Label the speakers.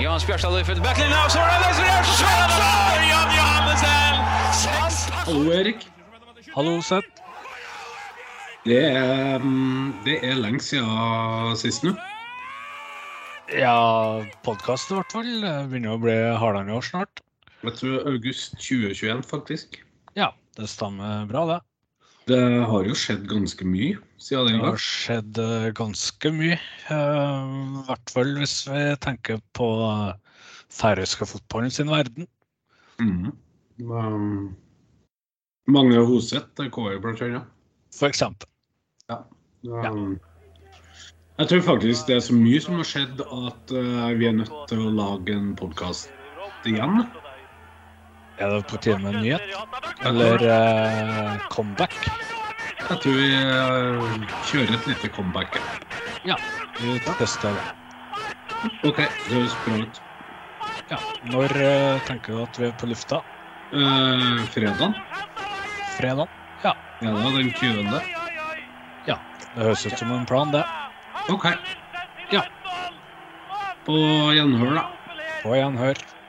Speaker 1: Johan Spjørstad løper til backline, og så er det Esbjørn Svensson! Jan Johannessen!
Speaker 2: Hallo, Erik.
Speaker 3: Hallo, Seth.
Speaker 2: Det er, mm, det er lenge siden sist nå.
Speaker 3: Ja, podkast i hvert fall. Det Begynner å bli halvannet år snart.
Speaker 2: Jeg tror august 2021, faktisk.
Speaker 3: Ja, det stemmer bra, det.
Speaker 2: Det har jo skjedd ganske mye siden
Speaker 3: Det
Speaker 2: den gang.
Speaker 3: har skjedd eh, ganske mye. eh, I hvert fall hvis vi tenker på eh, færøyske fotballen sin verden.
Speaker 2: Mhm. Um, Mange Hoseth er KI, blant annet.
Speaker 3: For eksempel.
Speaker 2: Um, Jeg tror faktisk det er så mye som har skjedd at eh, vi er nødt til å lage en podkast igjen.
Speaker 3: Er det på tide med en nyhet? Eller eh, comeback?
Speaker 2: Jeg tror vi eh, kjører et lite comeback. ja.
Speaker 3: Vi tester det.
Speaker 2: OK, det høres bra ut.
Speaker 3: Ja. Når eh, tenker du at vi er på lufta?
Speaker 2: Uh, fredag?
Speaker 3: Fredag?
Speaker 2: Ja, det var den 20.
Speaker 3: Det høres ut som en plan, det.
Speaker 2: OK. På gjenhør, da.
Speaker 3: På gjenhør.